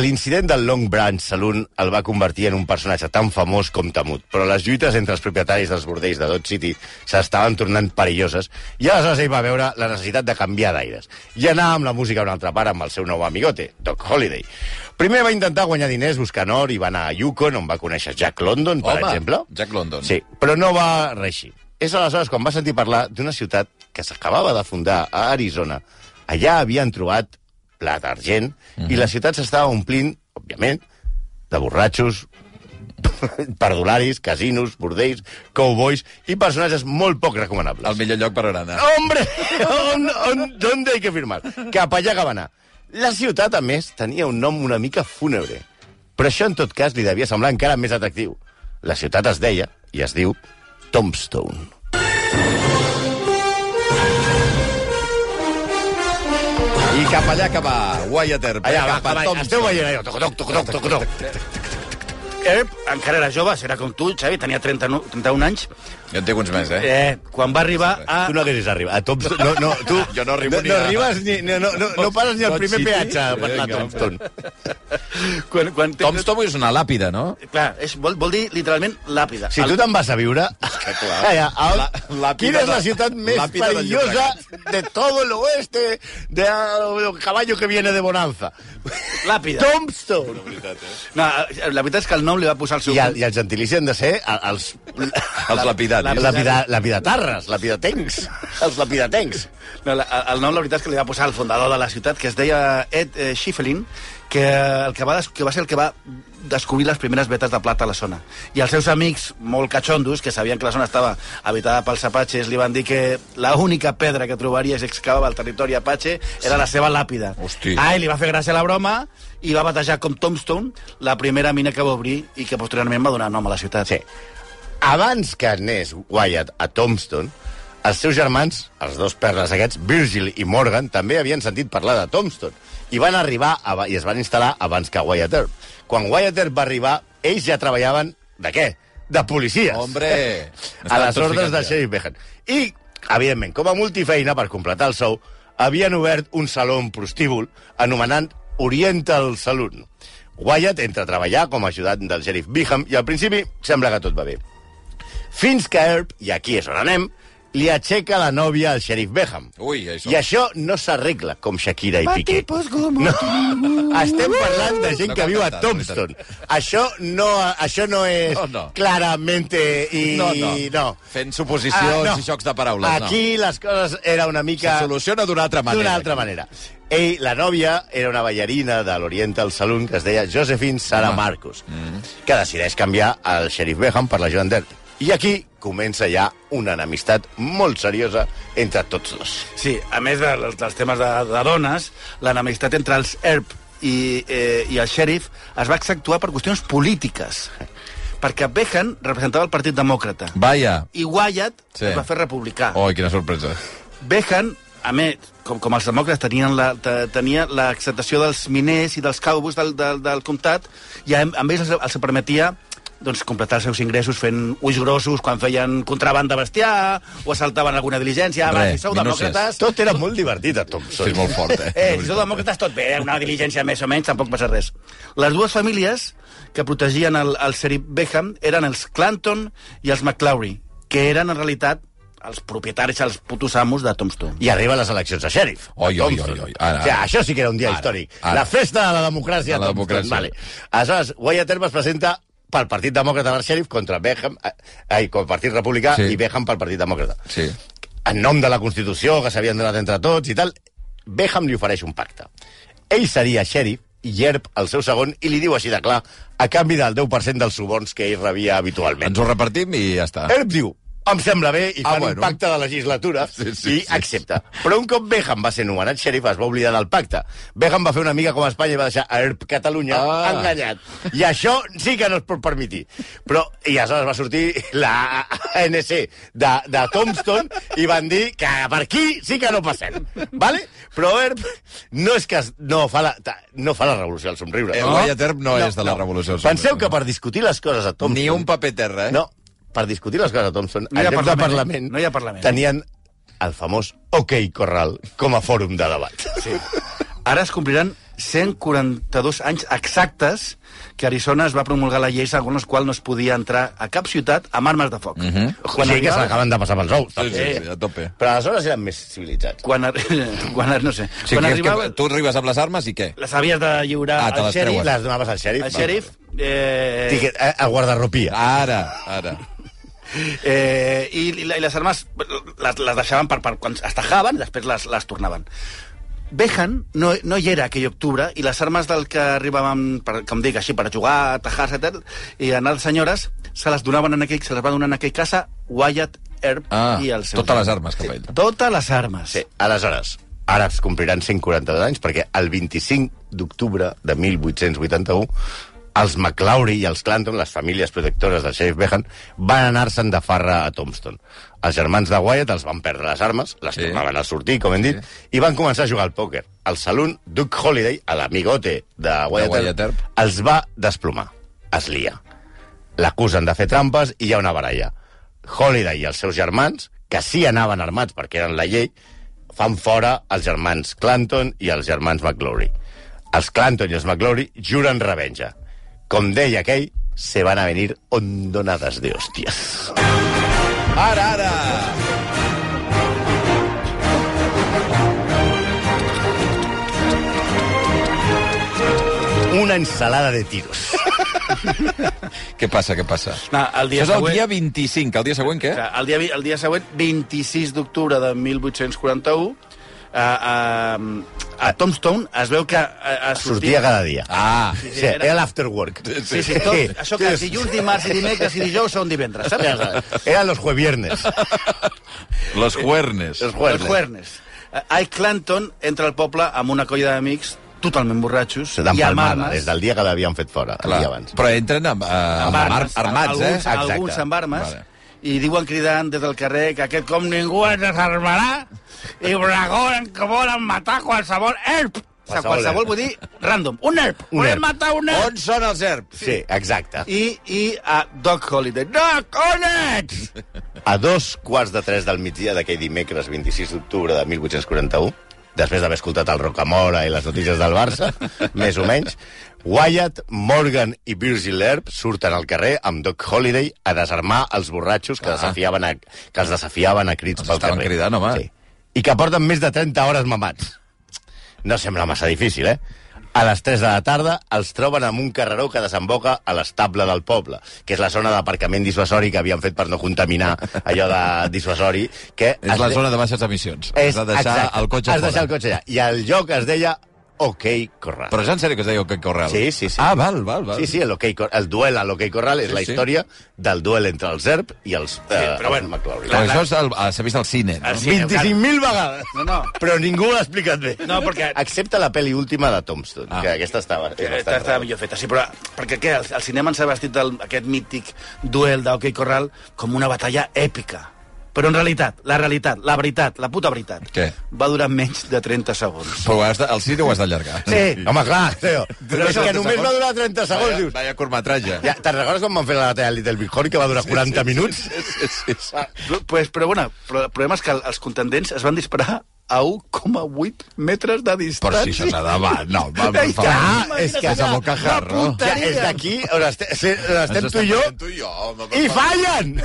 [SPEAKER 3] L'incident del Long Branch Saloon el va convertir en un personatge tan famós com temut, però les lluites entre els propietaris dels bordells de Dodge City s'estaven tornant perilloses i aleshores ell va veure la necessitat de canviar d'aires i anar amb la música a una altra part amb el seu nou amigote, Doc Holiday. Primer va intentar guanyar diners buscant or i va anar a Yukon, on va conèixer Jack London, per
[SPEAKER 2] Home,
[SPEAKER 3] exemple.
[SPEAKER 2] Jack London.
[SPEAKER 3] Sí, però no va reeixir. És aleshores quan va sentir parlar d'una ciutat que s'acabava de fundar a Arizona. Allà havien trobat plata argent mm -hmm.
[SPEAKER 2] Mhm.
[SPEAKER 3] i la ciutat s'estava omplint, òbviament, de borratxos, perdularis, casinos, bordells, cowboys i personatges molt poc recomanables.
[SPEAKER 2] El millor lloc per anar.
[SPEAKER 3] Hombre, on, on, ¿dónde hay que firmar? Cap allà que va anar. La ciutat, a més, tenia un nom una mica fúnebre. Però això, en tot cas, li devia semblar encara més atractiu. La ciutat es deia, i es diu, Tombstone.
[SPEAKER 2] I cap allà que va, Wyatt Earp,
[SPEAKER 3] Allà, va,
[SPEAKER 2] cap a
[SPEAKER 3] va, va, esteu
[SPEAKER 2] Thompson.
[SPEAKER 3] veient allò, toc, toc, toc, toc, toc, toc.
[SPEAKER 4] Erb, encara era jove, serà com tu, Xavi, tenia 30, no- 31 anys.
[SPEAKER 2] Jo en tinc uns més, eh?
[SPEAKER 4] Eh, quan va arribar a...
[SPEAKER 3] Tu no haguessis arribat. A Thompson, no, no, tu...
[SPEAKER 2] Ah. Jo no arribo
[SPEAKER 3] no,
[SPEAKER 2] ni
[SPEAKER 3] no
[SPEAKER 2] a-
[SPEAKER 3] arribes ni... No, no, no, no passes ni el
[SPEAKER 2] Pot
[SPEAKER 3] primer
[SPEAKER 2] ser,
[SPEAKER 3] peatge
[SPEAKER 2] sí?
[SPEAKER 3] per anar a
[SPEAKER 2] Vinga.
[SPEAKER 3] Thompson.
[SPEAKER 4] Quan, quan té-
[SPEAKER 2] Tombstone és una làpida, no?
[SPEAKER 4] Clar, és, vol, vol dir literalment làpida.
[SPEAKER 3] Si tu te'n vas a viure...
[SPEAKER 2] clar.
[SPEAKER 3] Allà, a...
[SPEAKER 2] La-
[SPEAKER 3] la,
[SPEAKER 2] làpida
[SPEAKER 3] quina és la
[SPEAKER 2] de-
[SPEAKER 3] ciutat més
[SPEAKER 2] làpida del
[SPEAKER 3] perillosa de todo el oeste de el caballo que viene de Bonanza?
[SPEAKER 4] Làpida.
[SPEAKER 3] Tombstone!
[SPEAKER 4] No, la veritat és que el nom li va posar el seu...
[SPEAKER 3] I, el, I els gentilici han de ser el- els...
[SPEAKER 2] Els lapidaris.
[SPEAKER 3] Lapida, lapidatarres, lapidatencs. Els lapidatencs.
[SPEAKER 4] No, la, el nom, la veritat, és que li va posar el fundador de la ciutat, que es deia Ed eh, Schiffelin, que, el que, va, des- que va ser el que va descobrir les primeres vetes de plata a la zona. I els seus amics, molt catxondos, que sabien que la zona estava habitada pels apatxes, li van dir que la única pedra que trobaries excavava el territori apatxe era la seva làpida.
[SPEAKER 2] Hosti.
[SPEAKER 4] Ah, i li va fer gràcia la broma i va batejar com Tombstone la primera mina que va obrir i que posteriorment va donar nom a la ciutat.
[SPEAKER 3] Sí. Abans que anés Wyatt a Tombstone, els seus germans, els dos perles aquests, Virgil i Morgan, també havien sentit parlar de Tombstone i van arribar a, i es van instal·lar abans que Wyatt Earp. Quan Wyatt Earp va arribar, ells ja treballaven de què? De policies.
[SPEAKER 2] Hombre!
[SPEAKER 3] a les ordres de
[SPEAKER 2] Shea.
[SPEAKER 3] Sheriff Behan. I, evidentment, com a multifeina, per completar el sou, havien obert un saló en prostíbul anomenant Oriental Saloon. Wyatt entra a treballar com a ajudant del Sheriff Biham i al principi sembla que tot va bé. Fins que Herb, i aquí és on anem, li aixeca la nòvia al Sheriff Beham.
[SPEAKER 2] Ui, això.
[SPEAKER 3] I això no s'arregla com Shakira i Piqué. No. Estem parlant de gent
[SPEAKER 2] No
[SPEAKER 3] que viu a
[SPEAKER 2] cal cantar, és
[SPEAKER 3] Tombstone. Això no, això no és
[SPEAKER 2] No, no.
[SPEAKER 3] claramente i...
[SPEAKER 2] No, no.
[SPEAKER 3] no.
[SPEAKER 2] Fent suposicions
[SPEAKER 3] Ah,
[SPEAKER 2] i xocs de paraules, no.
[SPEAKER 3] Aquí les coses era una mica...
[SPEAKER 2] Se soluciona d'una altra manera.
[SPEAKER 3] D'una altra manera. Ell, la nòvia, era una ballarina de l'Oriental Saloon que es deia Josephine Sara
[SPEAKER 2] Home. Mm.
[SPEAKER 3] Marcus, que decideix canviar el Sheriff Beham per la Joan Dert. I aquí comença ja una enemistat molt seriosa entre tots dos.
[SPEAKER 4] Sí, a més de, dels temes de, de dones, l'enemistat entre els ERP i, eh, i el xèrif es va accentuar per qüestions polítiques, perquè Behan representava el Partit Demòcrata
[SPEAKER 2] Vaja.
[SPEAKER 4] i Wyatt
[SPEAKER 2] Sí.
[SPEAKER 4] sí. es va fer republicà.
[SPEAKER 2] Oi, quina sorpresa.
[SPEAKER 4] Behan, a més, com, com els demòcrates tenien la, te, tenia l'acceptació dels miners i dels caubos del, del, del comtat, i a, a ells els, els permetia doncs, completar els seus ingressos fent ulls grossos quan feien contraban de bestiar o assaltaven alguna diligència. Va,
[SPEAKER 2] Res,
[SPEAKER 4] si sou
[SPEAKER 2] minuses.
[SPEAKER 4] demòcrates,
[SPEAKER 3] Tot era molt divertit a Thompson.
[SPEAKER 2] Sí, és molt fort, eh?
[SPEAKER 4] Eh, si sou demòcrates, tot bé, eh? una diligència més o menys, tampoc passa res. Les dues famílies que protegien el, el Serif Beckham eren els Clanton i els McClowry, que eren, en realitat, els propietaris, els putos amos de Tombstone.
[SPEAKER 3] I arriba les eleccions a xèrif.
[SPEAKER 2] Oi, oi,
[SPEAKER 3] Thompson.
[SPEAKER 2] oi, oi. Ara,
[SPEAKER 3] o sigui,
[SPEAKER 2] ara.
[SPEAKER 3] això sí que era un dia
[SPEAKER 2] Ara,
[SPEAKER 3] històric.
[SPEAKER 2] ara.
[SPEAKER 3] La festa de la democràcia.
[SPEAKER 2] De la
[SPEAKER 3] Thompson.
[SPEAKER 2] democràcia.
[SPEAKER 3] Vale. Aleshores, Wyatt Earp es presenta pel Partit Demòcrata del Sheriff contra Beckham, eh, ai, com Partit Republicà
[SPEAKER 2] Sí.
[SPEAKER 3] sí. i Beckham pel Partit Demòcrata.
[SPEAKER 2] Sí.
[SPEAKER 3] En nom de la Constitució, que s'havien donat entre tots i tal, Beckham li ofereix un pacte. Ell seria xèrif i Yerp, el seu segon, i li diu així de clar, a canvi del 10% dels suborns que ell rebia habitualment.
[SPEAKER 2] Ens ho repartim i ja està.
[SPEAKER 3] Herb diu, em sembla bé,
[SPEAKER 2] Ah,
[SPEAKER 3] i fan ah,
[SPEAKER 2] bueno.
[SPEAKER 3] bueno. un pacte de legislatura
[SPEAKER 2] Sí,
[SPEAKER 3] sí,
[SPEAKER 2] sí,
[SPEAKER 3] sí, i
[SPEAKER 2] sí.
[SPEAKER 3] accepta. Però un cop Beham va ser nomenat xèrif, es va oblidar del pacte. Beham va fer una mica com a Espanya i va deixar a Herb Catalunya
[SPEAKER 2] Ah.
[SPEAKER 3] ah. enganyat. I això sí que no es pot permetir. Però, i aleshores va sortir la ANC de, de Tombstone i van dir que per aquí sí que no passem. Vale? Però Herb no és que es- no fa la, ta- no fa la revolució al somriure.
[SPEAKER 2] Eh, Wyatt Earp no és de la Revolució al somriure.
[SPEAKER 3] Penseu que per discutir les coses a Tombstone...
[SPEAKER 2] Ni un paper terra, eh?
[SPEAKER 3] No, per discutir les coses a Thompson,
[SPEAKER 4] No
[SPEAKER 3] no
[SPEAKER 4] hi ha
[SPEAKER 3] en lloc de
[SPEAKER 4] parlament,
[SPEAKER 3] Parlament,
[SPEAKER 4] no hi ha parlament.
[SPEAKER 3] tenien el famós OK Corral com a fòrum de debat. Sí.
[SPEAKER 4] Ara es compliran 142 anys exactes que Arizona es va promulgar la llei segons la qual no es podia entrar a cap ciutat amb armes de foc. Mm
[SPEAKER 2] Mhm.
[SPEAKER 4] -hmm.
[SPEAKER 3] O sigui que se l'acaben de passar pels ous.
[SPEAKER 2] Sí,
[SPEAKER 3] també.
[SPEAKER 2] sí, sí, a tope.
[SPEAKER 3] Però aleshores eren més civilitzats.
[SPEAKER 4] quan, ar- quan, ar- no sé,
[SPEAKER 2] O sigui,
[SPEAKER 4] quan
[SPEAKER 2] que,
[SPEAKER 4] arribava...
[SPEAKER 2] que tu arribes amb les armes i què?
[SPEAKER 4] Les havies de lliurar
[SPEAKER 2] Ah, te
[SPEAKER 4] al
[SPEAKER 2] les
[SPEAKER 4] xèrif.
[SPEAKER 2] treuen.
[SPEAKER 3] Les donaves al xèrif.
[SPEAKER 4] El xèrif... Eh,
[SPEAKER 3] Tiquet, a, a guardarropia.
[SPEAKER 2] Ara, ara.
[SPEAKER 4] Eh, i, i, la- i les armes les, les deixaven per, per quan es tajaven i després les, les tornaven. Behan no, no hi era aquell octubre i les armes del que arribaven, per, com dic, així, per jugar, tajar, etc i anar a les senyores, se les donaven en aquell, se les va donar en aquell casa Wyatt Earp
[SPEAKER 2] Ah,
[SPEAKER 4] i els seus...
[SPEAKER 2] totes les
[SPEAKER 4] amics.
[SPEAKER 2] armes cap a ell.
[SPEAKER 4] Totes les armes.
[SPEAKER 3] Sí, aleshores, ara es compliran 142 anys perquè el 25 d'octubre de 1881 els McLaury i els Clanton, les famílies protectores del xerif Behan, van anar-se'n de farra a Tombstone. Els germans de Wyatt els van perdre les armes, les
[SPEAKER 2] Sí.
[SPEAKER 3] sí. tornaven a sortir, com hem dit, i van començar a jugar al pòquer. Al saloon, Duke Holiday, a l'amigote de Wyatt,
[SPEAKER 2] Wyatt Earp.
[SPEAKER 3] els va desplomar. Es lia. L'acusen de fer trampes i hi ha una baralla. Holiday i els seus germans, que sí anaven armats perquè eren la llei, fan fora els germans Clanton i els germans McGlory. Els Clanton i els McGlory juren revenja. Com deia aquell, se van a venir ondonades de hòsties.
[SPEAKER 2] Ara, ara!
[SPEAKER 3] Una ensalada de tiros.
[SPEAKER 2] Què passa, què passa?
[SPEAKER 4] No, el dia
[SPEAKER 2] Això és el
[SPEAKER 4] següent-
[SPEAKER 2] dia 25, el dia següent què?
[SPEAKER 4] O sigui, el, dia, vi- el dia següent, 26 d'octubre de 1841, a, eh, a, a Tombstone es veu que eh, a, a
[SPEAKER 3] Sortia cada dia.
[SPEAKER 2] Ah,
[SPEAKER 3] Sí, era l'afterwork.
[SPEAKER 4] Sí, sí, tot, això que dilluns, dimarts i dimecres i dijous són divendres, saps?
[SPEAKER 3] Eran los jueviernes.
[SPEAKER 2] los juernes.
[SPEAKER 3] Los
[SPEAKER 4] Els
[SPEAKER 3] juernes.
[SPEAKER 4] Juernes. Eh, Ike Clanton entra al poble amb una colla d'amics totalment borratxos
[SPEAKER 3] Se l'han
[SPEAKER 4] i amb
[SPEAKER 3] palmada
[SPEAKER 4] armes.
[SPEAKER 3] des del dia que l'havien fet fora, el
[SPEAKER 2] Clar.
[SPEAKER 3] dia abans.
[SPEAKER 2] Però entren amb, eh, amb, armats, armats eh?
[SPEAKER 4] alguns,
[SPEAKER 3] Exacte.
[SPEAKER 4] Alguns amb armes.
[SPEAKER 2] Vale.
[SPEAKER 4] I diuen cridant des del carrer que aquest com ningú ens desarmarà i bragoren que volen matar qualsevol herb. O sigui,
[SPEAKER 3] Qualsevol
[SPEAKER 4] qualsevol
[SPEAKER 3] herb.
[SPEAKER 4] vull dir random. Un herb.
[SPEAKER 3] Un
[SPEAKER 4] Volem
[SPEAKER 3] herb.
[SPEAKER 4] matar un herb.
[SPEAKER 2] On són els herbs?
[SPEAKER 3] Sí, exacte.
[SPEAKER 4] I, I a Doc Holiday. Doc, on ets?
[SPEAKER 3] A dos quarts de tres del migdia d'aquell dimecres 26 d'octubre de 1841, després d'haver escoltat el Rocamora i les notícies del Barça, més o menys, Wyatt, Morgan i Virgil Earp surten al carrer amb Doc Holiday a desarmar els borratxos que, desafiaven a, que els desafiaven a crits
[SPEAKER 2] Els
[SPEAKER 3] pel
[SPEAKER 2] estaven
[SPEAKER 3] carrer.
[SPEAKER 2] cridant, home.
[SPEAKER 3] I que porten més de 30 hores mamats. No sembla massa difícil, eh? A les 3 de la tarda els troben amb un carreró que desemboca a l'estable del poble, que és la zona d'aparcament dissuasori que havien fet per no contaminar allò de dissuasori. Que
[SPEAKER 2] És la zona de baixes emissions. Has de deixar
[SPEAKER 3] exacte,
[SPEAKER 2] el cotxe
[SPEAKER 3] Has de deixar el
[SPEAKER 2] fora.
[SPEAKER 3] cotxe allà. I el lloc es deia OK Corral.
[SPEAKER 2] Però és en sèrio que es deia que corral?
[SPEAKER 3] Sí, sí, sí.
[SPEAKER 2] Ah, val, val, val.
[SPEAKER 3] Sí, sí, el, okay, Cor- el duel a l'Hockey Corral és
[SPEAKER 2] Sí,
[SPEAKER 3] la
[SPEAKER 2] sí.
[SPEAKER 3] història del duel entre el Zerb i els, eh, els
[SPEAKER 4] però bueno,
[SPEAKER 3] McLaurin.
[SPEAKER 2] Però això és el- ah, s'ha vist al cine, no?
[SPEAKER 4] Ah, sí.
[SPEAKER 3] 25.000 vegades!
[SPEAKER 4] No, no.
[SPEAKER 3] Però ningú l'ha explicat bé.
[SPEAKER 4] No, perquè-
[SPEAKER 3] Excepte la pel·li última de Tombstone,
[SPEAKER 2] Ah.
[SPEAKER 3] que aquesta estava... és bastant
[SPEAKER 4] Està, està
[SPEAKER 3] rara.
[SPEAKER 4] millor feta, sí, però perquè què? El, el cinema ens ha vestit del, aquest mític duel d'Hockey Corral com una batalla èpica. Però en realitat, la realitat, la veritat, la puta veritat,
[SPEAKER 2] Què?
[SPEAKER 4] va durar menys de 30 segons.
[SPEAKER 2] Però has de, el cine ho has d'allargar.
[SPEAKER 3] Sí, home, clar, tio. Però és que
[SPEAKER 2] 30
[SPEAKER 3] només va
[SPEAKER 2] segons.
[SPEAKER 3] durar 30 segons,
[SPEAKER 2] Vaya,
[SPEAKER 3] dius.
[SPEAKER 2] vaya curtmetratge.
[SPEAKER 3] Ja, Te'n recordes quan van fer la batalla del Little Big Horn, que va durar 40 minuts?
[SPEAKER 2] Sí, sí, sí.
[SPEAKER 4] Però, pues, però bueno, però, el problema és que els contendents es van disparar a 1,8 metres de distància.
[SPEAKER 2] Però si això s'ha de... Va, no, va, per
[SPEAKER 4] Ei,
[SPEAKER 2] favor.
[SPEAKER 4] ja,
[SPEAKER 3] Ah, és que
[SPEAKER 2] és a
[SPEAKER 4] allà,
[SPEAKER 2] bocajarro.
[SPEAKER 3] Ja,
[SPEAKER 4] la punteria.
[SPEAKER 3] és d'aquí on estem, on estem
[SPEAKER 2] Ens
[SPEAKER 3] tu i jo,
[SPEAKER 2] veient Tu i jo, home, per
[SPEAKER 3] i
[SPEAKER 2] favor.
[SPEAKER 3] fallen!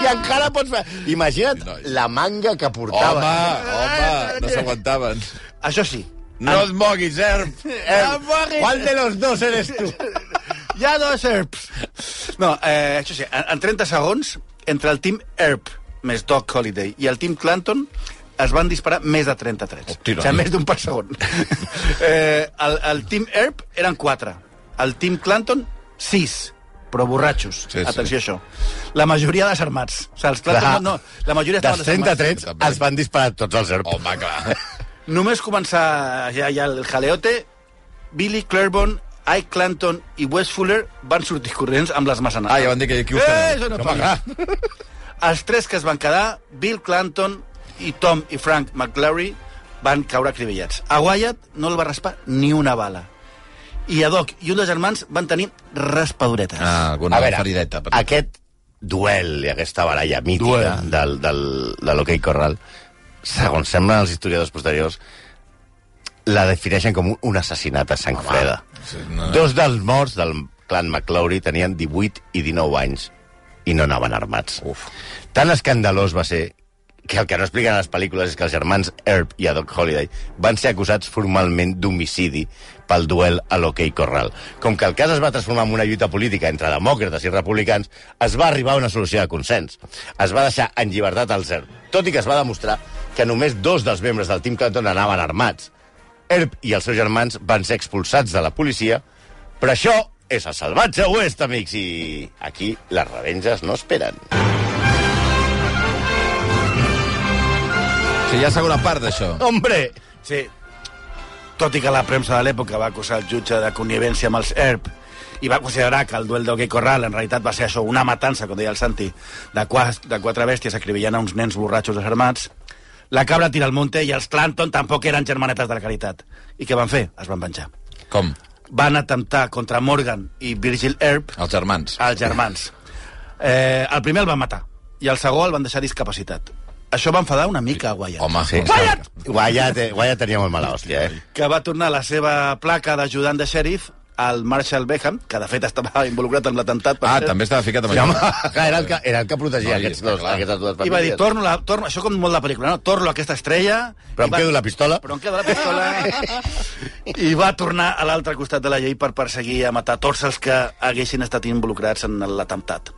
[SPEAKER 3] I encara pots fer... Imagina't
[SPEAKER 2] Noi.
[SPEAKER 3] la manga que portava.
[SPEAKER 2] Home, home, no s'aguantaven.
[SPEAKER 4] Això sí,
[SPEAKER 2] No et moguis, Herb.
[SPEAKER 3] Eh,
[SPEAKER 4] moguis.
[SPEAKER 3] ¿Cuál de los dos eres tu?
[SPEAKER 4] hi ha dos ERPs. No, eh, això sí, en, en 30 segons, entre el team ERP més Doc Holiday i el team Clanton es van disparar més de 30 trets.
[SPEAKER 2] Hòstia.
[SPEAKER 4] o sigui, més d'un per segon. eh, el, el team ERP eren 4. El team Clanton, 6 però borratxos.
[SPEAKER 2] Sí, sí.
[SPEAKER 4] Atenció a això. La majoria desarmats. O sigui, els
[SPEAKER 3] Clar.
[SPEAKER 4] Clanton, no, la majoria
[SPEAKER 3] Dels 30
[SPEAKER 4] estaven desarmats.
[SPEAKER 3] trets els van disparar tots els ERP.
[SPEAKER 2] Home, clar.
[SPEAKER 4] Només començar ja, ja el jaleote, Billy Claiborne, Ike Clanton i Wes Fuller van sortir corrents amb les massanades.
[SPEAKER 2] Ah, ja van dir que aquí ho
[SPEAKER 4] Eh,
[SPEAKER 2] farem.
[SPEAKER 4] això no
[SPEAKER 2] Home,
[SPEAKER 4] passa. Els tres que es van quedar, Bill Clanton i Tom i Frank McLaury, van caure crivellats. A Wyatt no el va raspar ni una bala. I a Doc i un dels germans van tenir raspaduretes.
[SPEAKER 2] Ah, alguna farideta. per-
[SPEAKER 3] aquest duel i aquesta baralla mítica duel. del, del, de l'hoquei Corral, segons semblen els historiadors posteriors, la defineixen com un- un assassinat a sang freda.
[SPEAKER 2] sí, no.
[SPEAKER 3] Dos dels morts del clan McLaury tenien 18 i 19 anys i no anaven armats.
[SPEAKER 2] Uf.
[SPEAKER 3] Tan escandalós va ser que el que no expliquen a les pel·lícules és que els germans Earp i a Doc Holiday van ser acusats formalment d'homicidi pel duel a l'hoquei Corral. Com que el cas es va transformar en una lluita política entre demòcrates i republicans, es va arribar a una solució de consens. Es va deixar en llibertat els Earp, tot i que es va demostrar que només dos dels membres del Team Clanton anaven armats. Earp i els seus germans van ser expulsats de la policia, però això és el salvatge oest, amics, i aquí les revenges no esperen.
[SPEAKER 2] Sí, hi ha segona part d'això.
[SPEAKER 3] Hombre!
[SPEAKER 4] Sí. Tot i que la premsa de l'època va acusar el jutge de connivencia amb els ERP i va considerar que el duel d'Hockey Corral en realitat va ser això, una matança, com deia el Santi, de, qua, de quatre bèsties acribillant a uns nens borratxos desarmats, la cabra tira al monte i els Clanton tampoc eren germanetes de la caritat. I què van fer? Es van venjar.
[SPEAKER 2] Com?
[SPEAKER 4] Van atemptar contra Morgan i Virgil Earp,
[SPEAKER 2] Els germans.
[SPEAKER 3] Ah,
[SPEAKER 4] els germans. Eh, el primer el van matar i el segon el van deixar discapacitat. Això va enfadar una mica a Wyatt.
[SPEAKER 2] Home, sí.
[SPEAKER 4] Wyatt!
[SPEAKER 3] Guayat, eh, Guayat tenia molt mala hòstia, eh?
[SPEAKER 4] que va tornar la seva placa d'ajudant de xèrif al Marshall Beckham, que de fet estava involucrat amb l'atemptat. per
[SPEAKER 2] Ah,
[SPEAKER 4] cert,
[SPEAKER 2] també estava ficat amb
[SPEAKER 3] Sí, home,
[SPEAKER 2] això.
[SPEAKER 3] clar, era el que, era el que protegia
[SPEAKER 2] No,
[SPEAKER 3] no,
[SPEAKER 2] i
[SPEAKER 3] aquests
[SPEAKER 2] està
[SPEAKER 3] dos,
[SPEAKER 2] clar.
[SPEAKER 3] aquestes dues
[SPEAKER 4] I
[SPEAKER 3] famílies.
[SPEAKER 4] va dir, torno, la, torno, això com molt de pel·lícula, no? Torno a aquesta estrella...
[SPEAKER 3] Però
[SPEAKER 4] i
[SPEAKER 3] em
[SPEAKER 4] va,
[SPEAKER 3] quedo la pistola.
[SPEAKER 4] Però em quedo la pistola. I va tornar a l'altre costat de la llei per perseguir i a matar tots els que haguessin estat involucrats en l'atemptat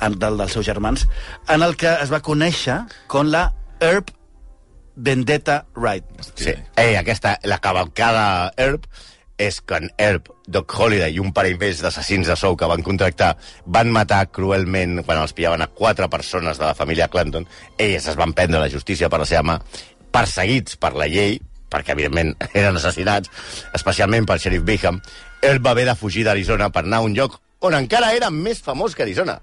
[SPEAKER 4] en- del, dels seus germans, en el que es va conèixer com la Herb Vendetta Wright.
[SPEAKER 3] Sí. Eh, aquesta, la cavalcada Herb és quan Herb, Doc Holliday i un parell més d'assassins de sou que van contractar van matar cruelment, quan els pillaven a quatre persones de la família Clanton, elles es van prendre la justícia per la seva mà, perseguits per la llei, perquè, evidentment, eren assassinats, especialment pel xerif Bickham, Herb va haver de fugir d'Arizona per anar a un lloc on encara era més famós que Arizona,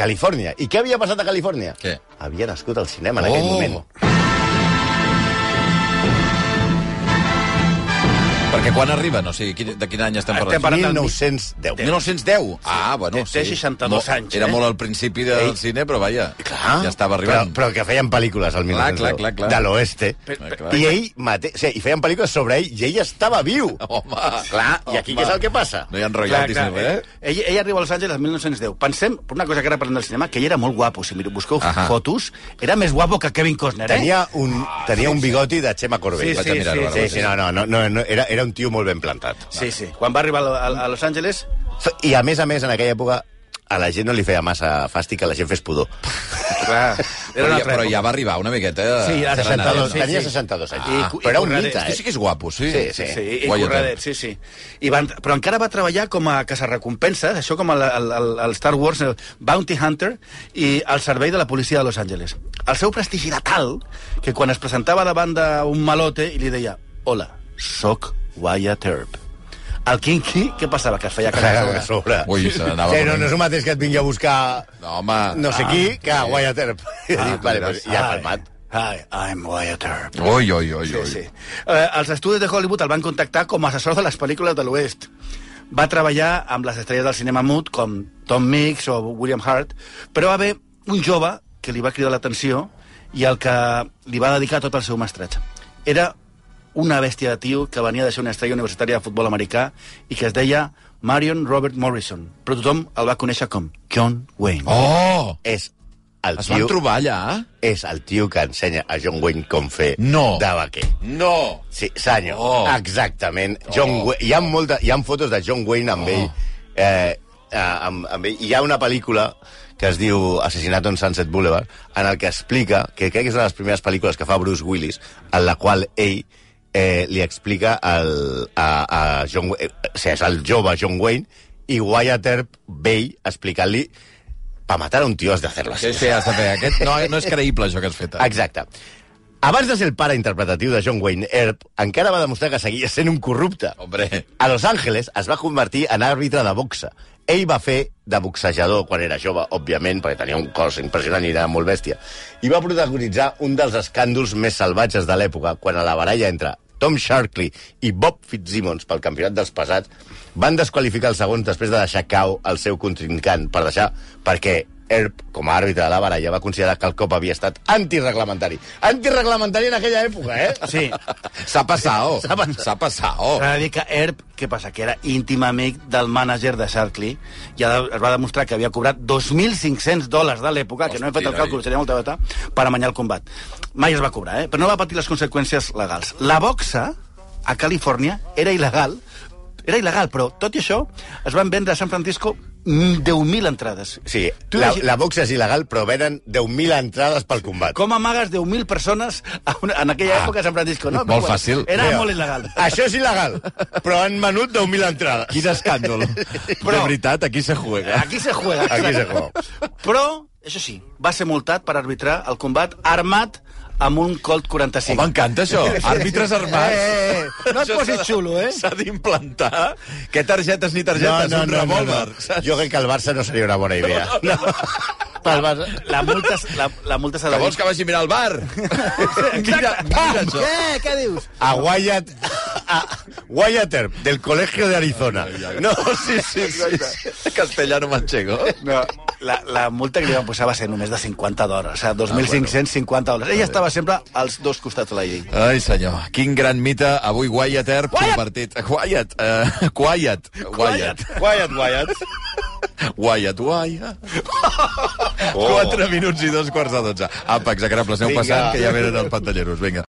[SPEAKER 3] Califòrnia. I què havia passat a Califòrnia?
[SPEAKER 2] Què?
[SPEAKER 3] Havia nascut el cinema en aquell
[SPEAKER 2] Oh.
[SPEAKER 3] moment.
[SPEAKER 2] Perquè quan arriben? O sigui, quin- de quin any estem
[SPEAKER 4] Estem
[SPEAKER 2] parlant?
[SPEAKER 4] parlant-
[SPEAKER 3] 1910.
[SPEAKER 2] 1910. 1910? Ah, bueno,
[SPEAKER 4] Té- té 62 anys,
[SPEAKER 2] Era
[SPEAKER 4] eh?
[SPEAKER 2] molt al principi del
[SPEAKER 3] Ei.
[SPEAKER 2] cine, però vaja,
[SPEAKER 3] Clar.
[SPEAKER 2] ja estava arribant.
[SPEAKER 3] Però, però que feien pel·lícules al
[SPEAKER 2] clar,
[SPEAKER 3] 1910.
[SPEAKER 2] clar, clar.
[SPEAKER 3] De l'oeste.
[SPEAKER 2] Clar, clar.
[SPEAKER 3] I ell mateix... O sigui, I feien pel·lícules sobre ell i ell estava viu.
[SPEAKER 2] Home,
[SPEAKER 3] Clar, i aquí què és el que passa?
[SPEAKER 2] No hi ha royalties ni res.
[SPEAKER 4] eh? Ell, ell arriba a Los Angeles el 1910. Pensem, per una cosa que ara parlem del cinema, que ell era molt guapo. Si mireu, busqueu
[SPEAKER 2] Ahà.
[SPEAKER 4] fotos, era més guapo que Kevin Costner, eh?
[SPEAKER 3] Tenia un, tenia un bigoti de Xema
[SPEAKER 4] Sí,
[SPEAKER 3] Corbell.
[SPEAKER 4] sí,
[SPEAKER 2] mirar
[SPEAKER 4] sí,
[SPEAKER 2] ara,
[SPEAKER 4] sí,
[SPEAKER 3] Sí,
[SPEAKER 2] vaja.
[SPEAKER 3] sí, no, no, no, no, no era, era un tio molt ben plantat.
[SPEAKER 4] Sí, sí. Quan va arribar a, a, a Los Angeles,
[SPEAKER 3] F- I a més a més, en aquella època, a la gent no li feia massa fàstic que la gent fes pudor.
[SPEAKER 4] clar, era
[SPEAKER 2] Però
[SPEAKER 4] una
[SPEAKER 2] ja,
[SPEAKER 4] altra
[SPEAKER 2] però
[SPEAKER 4] època.
[SPEAKER 2] ja va arribar una miqueta...
[SPEAKER 4] Sí, ara
[SPEAKER 2] serenada.
[SPEAKER 3] 62,
[SPEAKER 4] sí, sí.
[SPEAKER 3] tenia 62 anys.
[SPEAKER 4] Ah.
[SPEAKER 3] però era un
[SPEAKER 4] Corradet.
[SPEAKER 3] mite,
[SPEAKER 2] Este sí
[SPEAKER 3] eh?
[SPEAKER 2] que és guapo, sí.
[SPEAKER 3] Sí,
[SPEAKER 4] Sí, sí, i
[SPEAKER 2] Guayatet.
[SPEAKER 4] corradet, sí, sí. I van, però encara va treballar com a cazarrecompenses, això com al, al, al, al Star Wars, el Bounty Hunter, i al servei de la policia de Los Angeles. El seu prestigi era tal que quan es presentava davant d'un malote i li deia «Hola, sóc Wyatt Earp». El Kinky, què passava? Que es feia cagar
[SPEAKER 3] A
[SPEAKER 4] a sobre.
[SPEAKER 3] sobre.
[SPEAKER 2] Ui, se n'anava
[SPEAKER 3] Sí, no,
[SPEAKER 2] corrent.
[SPEAKER 3] no és el mateix que et vingui a buscar
[SPEAKER 2] No, home.
[SPEAKER 3] no sé
[SPEAKER 2] Ah,
[SPEAKER 3] qui, que a
[SPEAKER 2] sí. Ah,
[SPEAKER 3] Wyatt Earp. I dic, vale, pues, ja ha
[SPEAKER 4] Hi,
[SPEAKER 3] palmat.
[SPEAKER 4] Hi, I'm Wyatt Earp.
[SPEAKER 2] Ui, ui, ui,
[SPEAKER 4] Sí,
[SPEAKER 2] ui.
[SPEAKER 4] sí. Eh, els estudis de Hollywood el van contactar com a assessor de les pel·lícules de l'oest. Va treballar amb les estrelles del cinema mut, com Tom Mix o William Hart, però va haver un jove que li va cridar l'atenció i al que li va dedicar tot el seu mestratge. Era una bèstia de tio que venia de ser una estrella universitària de futbol americà i que es deia Marion Robert Morrison, però tothom el va conèixer com John Wayne.
[SPEAKER 2] Oh!
[SPEAKER 3] És el
[SPEAKER 2] Es
[SPEAKER 3] tio
[SPEAKER 2] van trobar allà?
[SPEAKER 3] és el tio que ensenya a John Wayne com fer
[SPEAKER 2] No.
[SPEAKER 3] de vaquer.
[SPEAKER 2] No!
[SPEAKER 3] Sí, senyor,
[SPEAKER 2] Oh.
[SPEAKER 3] exactament. John
[SPEAKER 2] Oh.
[SPEAKER 3] Wayne, hi, ha molta, hi ha fotos de John Wayne amb ell. Eh, eh, amb, amb ell. Hi ha una pel·lícula que es diu Assassinat on Sunset Boulevard, en el que explica, que crec que és una de les primeres pel·lícules que fa Bruce Willis, en la qual ell eh, li explica el, a, a John Wayne, eh, o sigui, és el jove John Wayne, i Wyatt Earp vell explicant-li pa matar a un tio has de hacerlo así.
[SPEAKER 2] Sí, sí, has de fer. Aquest no, no és creïble, això que has fet. eh? ara.
[SPEAKER 3] Exacte. Abans de ser el pare interpretatiu de John Wayne Earp, encara va demostrar que seguia sent un corrupte.
[SPEAKER 2] Hombre.
[SPEAKER 3] A Los Angeles es va convertir en àrbitre de boxa. Ell va fer de boxejador quan era jove, òbviament, perquè tenia un cos impressionant i era molt bèstia. I va protagonitzar un dels escàndols més salvatges de l'època, quan a la baralla entre Tom Sharkley i Bob Fitzsimmons pel campionat dels pesats van desqualificar el segon després de deixar cau el seu contrincant per deixar perquè Earp, com a àrbitre de la baralla, va considerar que el cop havia estat antirreglamentari. Antirreglamentari en aquella època, eh?
[SPEAKER 4] Sí,
[SPEAKER 2] S'ha passat.
[SPEAKER 3] S'ha passat. oh.
[SPEAKER 2] S'ha passat.
[SPEAKER 4] S'ha de dir que Herb, què passa? Que era íntim amic del mànager de Sharkley. Ja es va demostrar que havia cobrat 2.500 dòlars de l'època, que no hem fet el
[SPEAKER 2] Hòstia,
[SPEAKER 4] càlcul,
[SPEAKER 2] noi.
[SPEAKER 4] seria molta data, per amanyar el combat. Mai es va cobrar, eh? Però no va patir les conseqüències legals. La boxa, a Califòrnia, era il·legal, era il·legal, però tot i això es van vendre a San Francisco mm, 10.000 entrades.
[SPEAKER 3] Sí,
[SPEAKER 4] Tu
[SPEAKER 3] la,
[SPEAKER 4] imagina-
[SPEAKER 3] la boxa és il·legal, però venen 10.000 entrades pel combat.
[SPEAKER 4] Com amagues 10.000 persones a una, en aquella
[SPEAKER 3] Ah,
[SPEAKER 4] època a San Francisco, no?
[SPEAKER 2] molt fàcil.
[SPEAKER 4] Era
[SPEAKER 3] Mira,
[SPEAKER 4] molt il·legal.
[SPEAKER 3] Això és il·legal, però han menut 10.000 entrades.
[SPEAKER 2] Quin escàndol. Però... De veritat, aquí se juega.
[SPEAKER 4] Aquí se juega.
[SPEAKER 3] Aquí se juega.
[SPEAKER 4] Però, això sí, va ser multat per arbitrar el combat armat amb un Colt 45.
[SPEAKER 2] Oh, M'encanta això. Àrbitres armats.
[SPEAKER 5] Eh, eh, eh. No et
[SPEAKER 2] Això
[SPEAKER 5] posis
[SPEAKER 2] s'ha de-
[SPEAKER 5] xulo, eh?
[SPEAKER 2] S'ha d'implantar. Que targetes ni targetes, un revòlver. saps?
[SPEAKER 3] Jo crec que el Barça no seria una bona idea. No, Pel Barça...
[SPEAKER 4] La multa, s- la, la multa s'ha
[SPEAKER 2] Que
[SPEAKER 4] de dir...
[SPEAKER 2] vols que vagi a mirar al bar? mira,
[SPEAKER 3] Ah,
[SPEAKER 2] mira això.
[SPEAKER 5] Eh, què dius?
[SPEAKER 3] A Wyatt... A Wyatt Earp, del Colegio de Arizona. No, sí, sí, sí. sí.
[SPEAKER 2] Castellano manchego.
[SPEAKER 4] No, la, la multa que li van posar va ser només de 50 dòlars, o sigui,
[SPEAKER 3] Ah,
[SPEAKER 4] 2.550 dòlars. Ella estava sempre als dos costats de la llei.
[SPEAKER 2] Ai, senyor, quin gran mite. Avui Wyatt Earp
[SPEAKER 5] Wyatt!
[SPEAKER 2] convertit... Wyatt! Uh, Wyatt! Wyatt!
[SPEAKER 3] Wyatt, Wyatt.
[SPEAKER 2] Wyatt, Wyatt! Oh. 4 minuts i dos quarts de 12. Apa, execrables, aneu
[SPEAKER 3] Vinga.
[SPEAKER 2] passant, que ja venen els pantalleros. Vinga.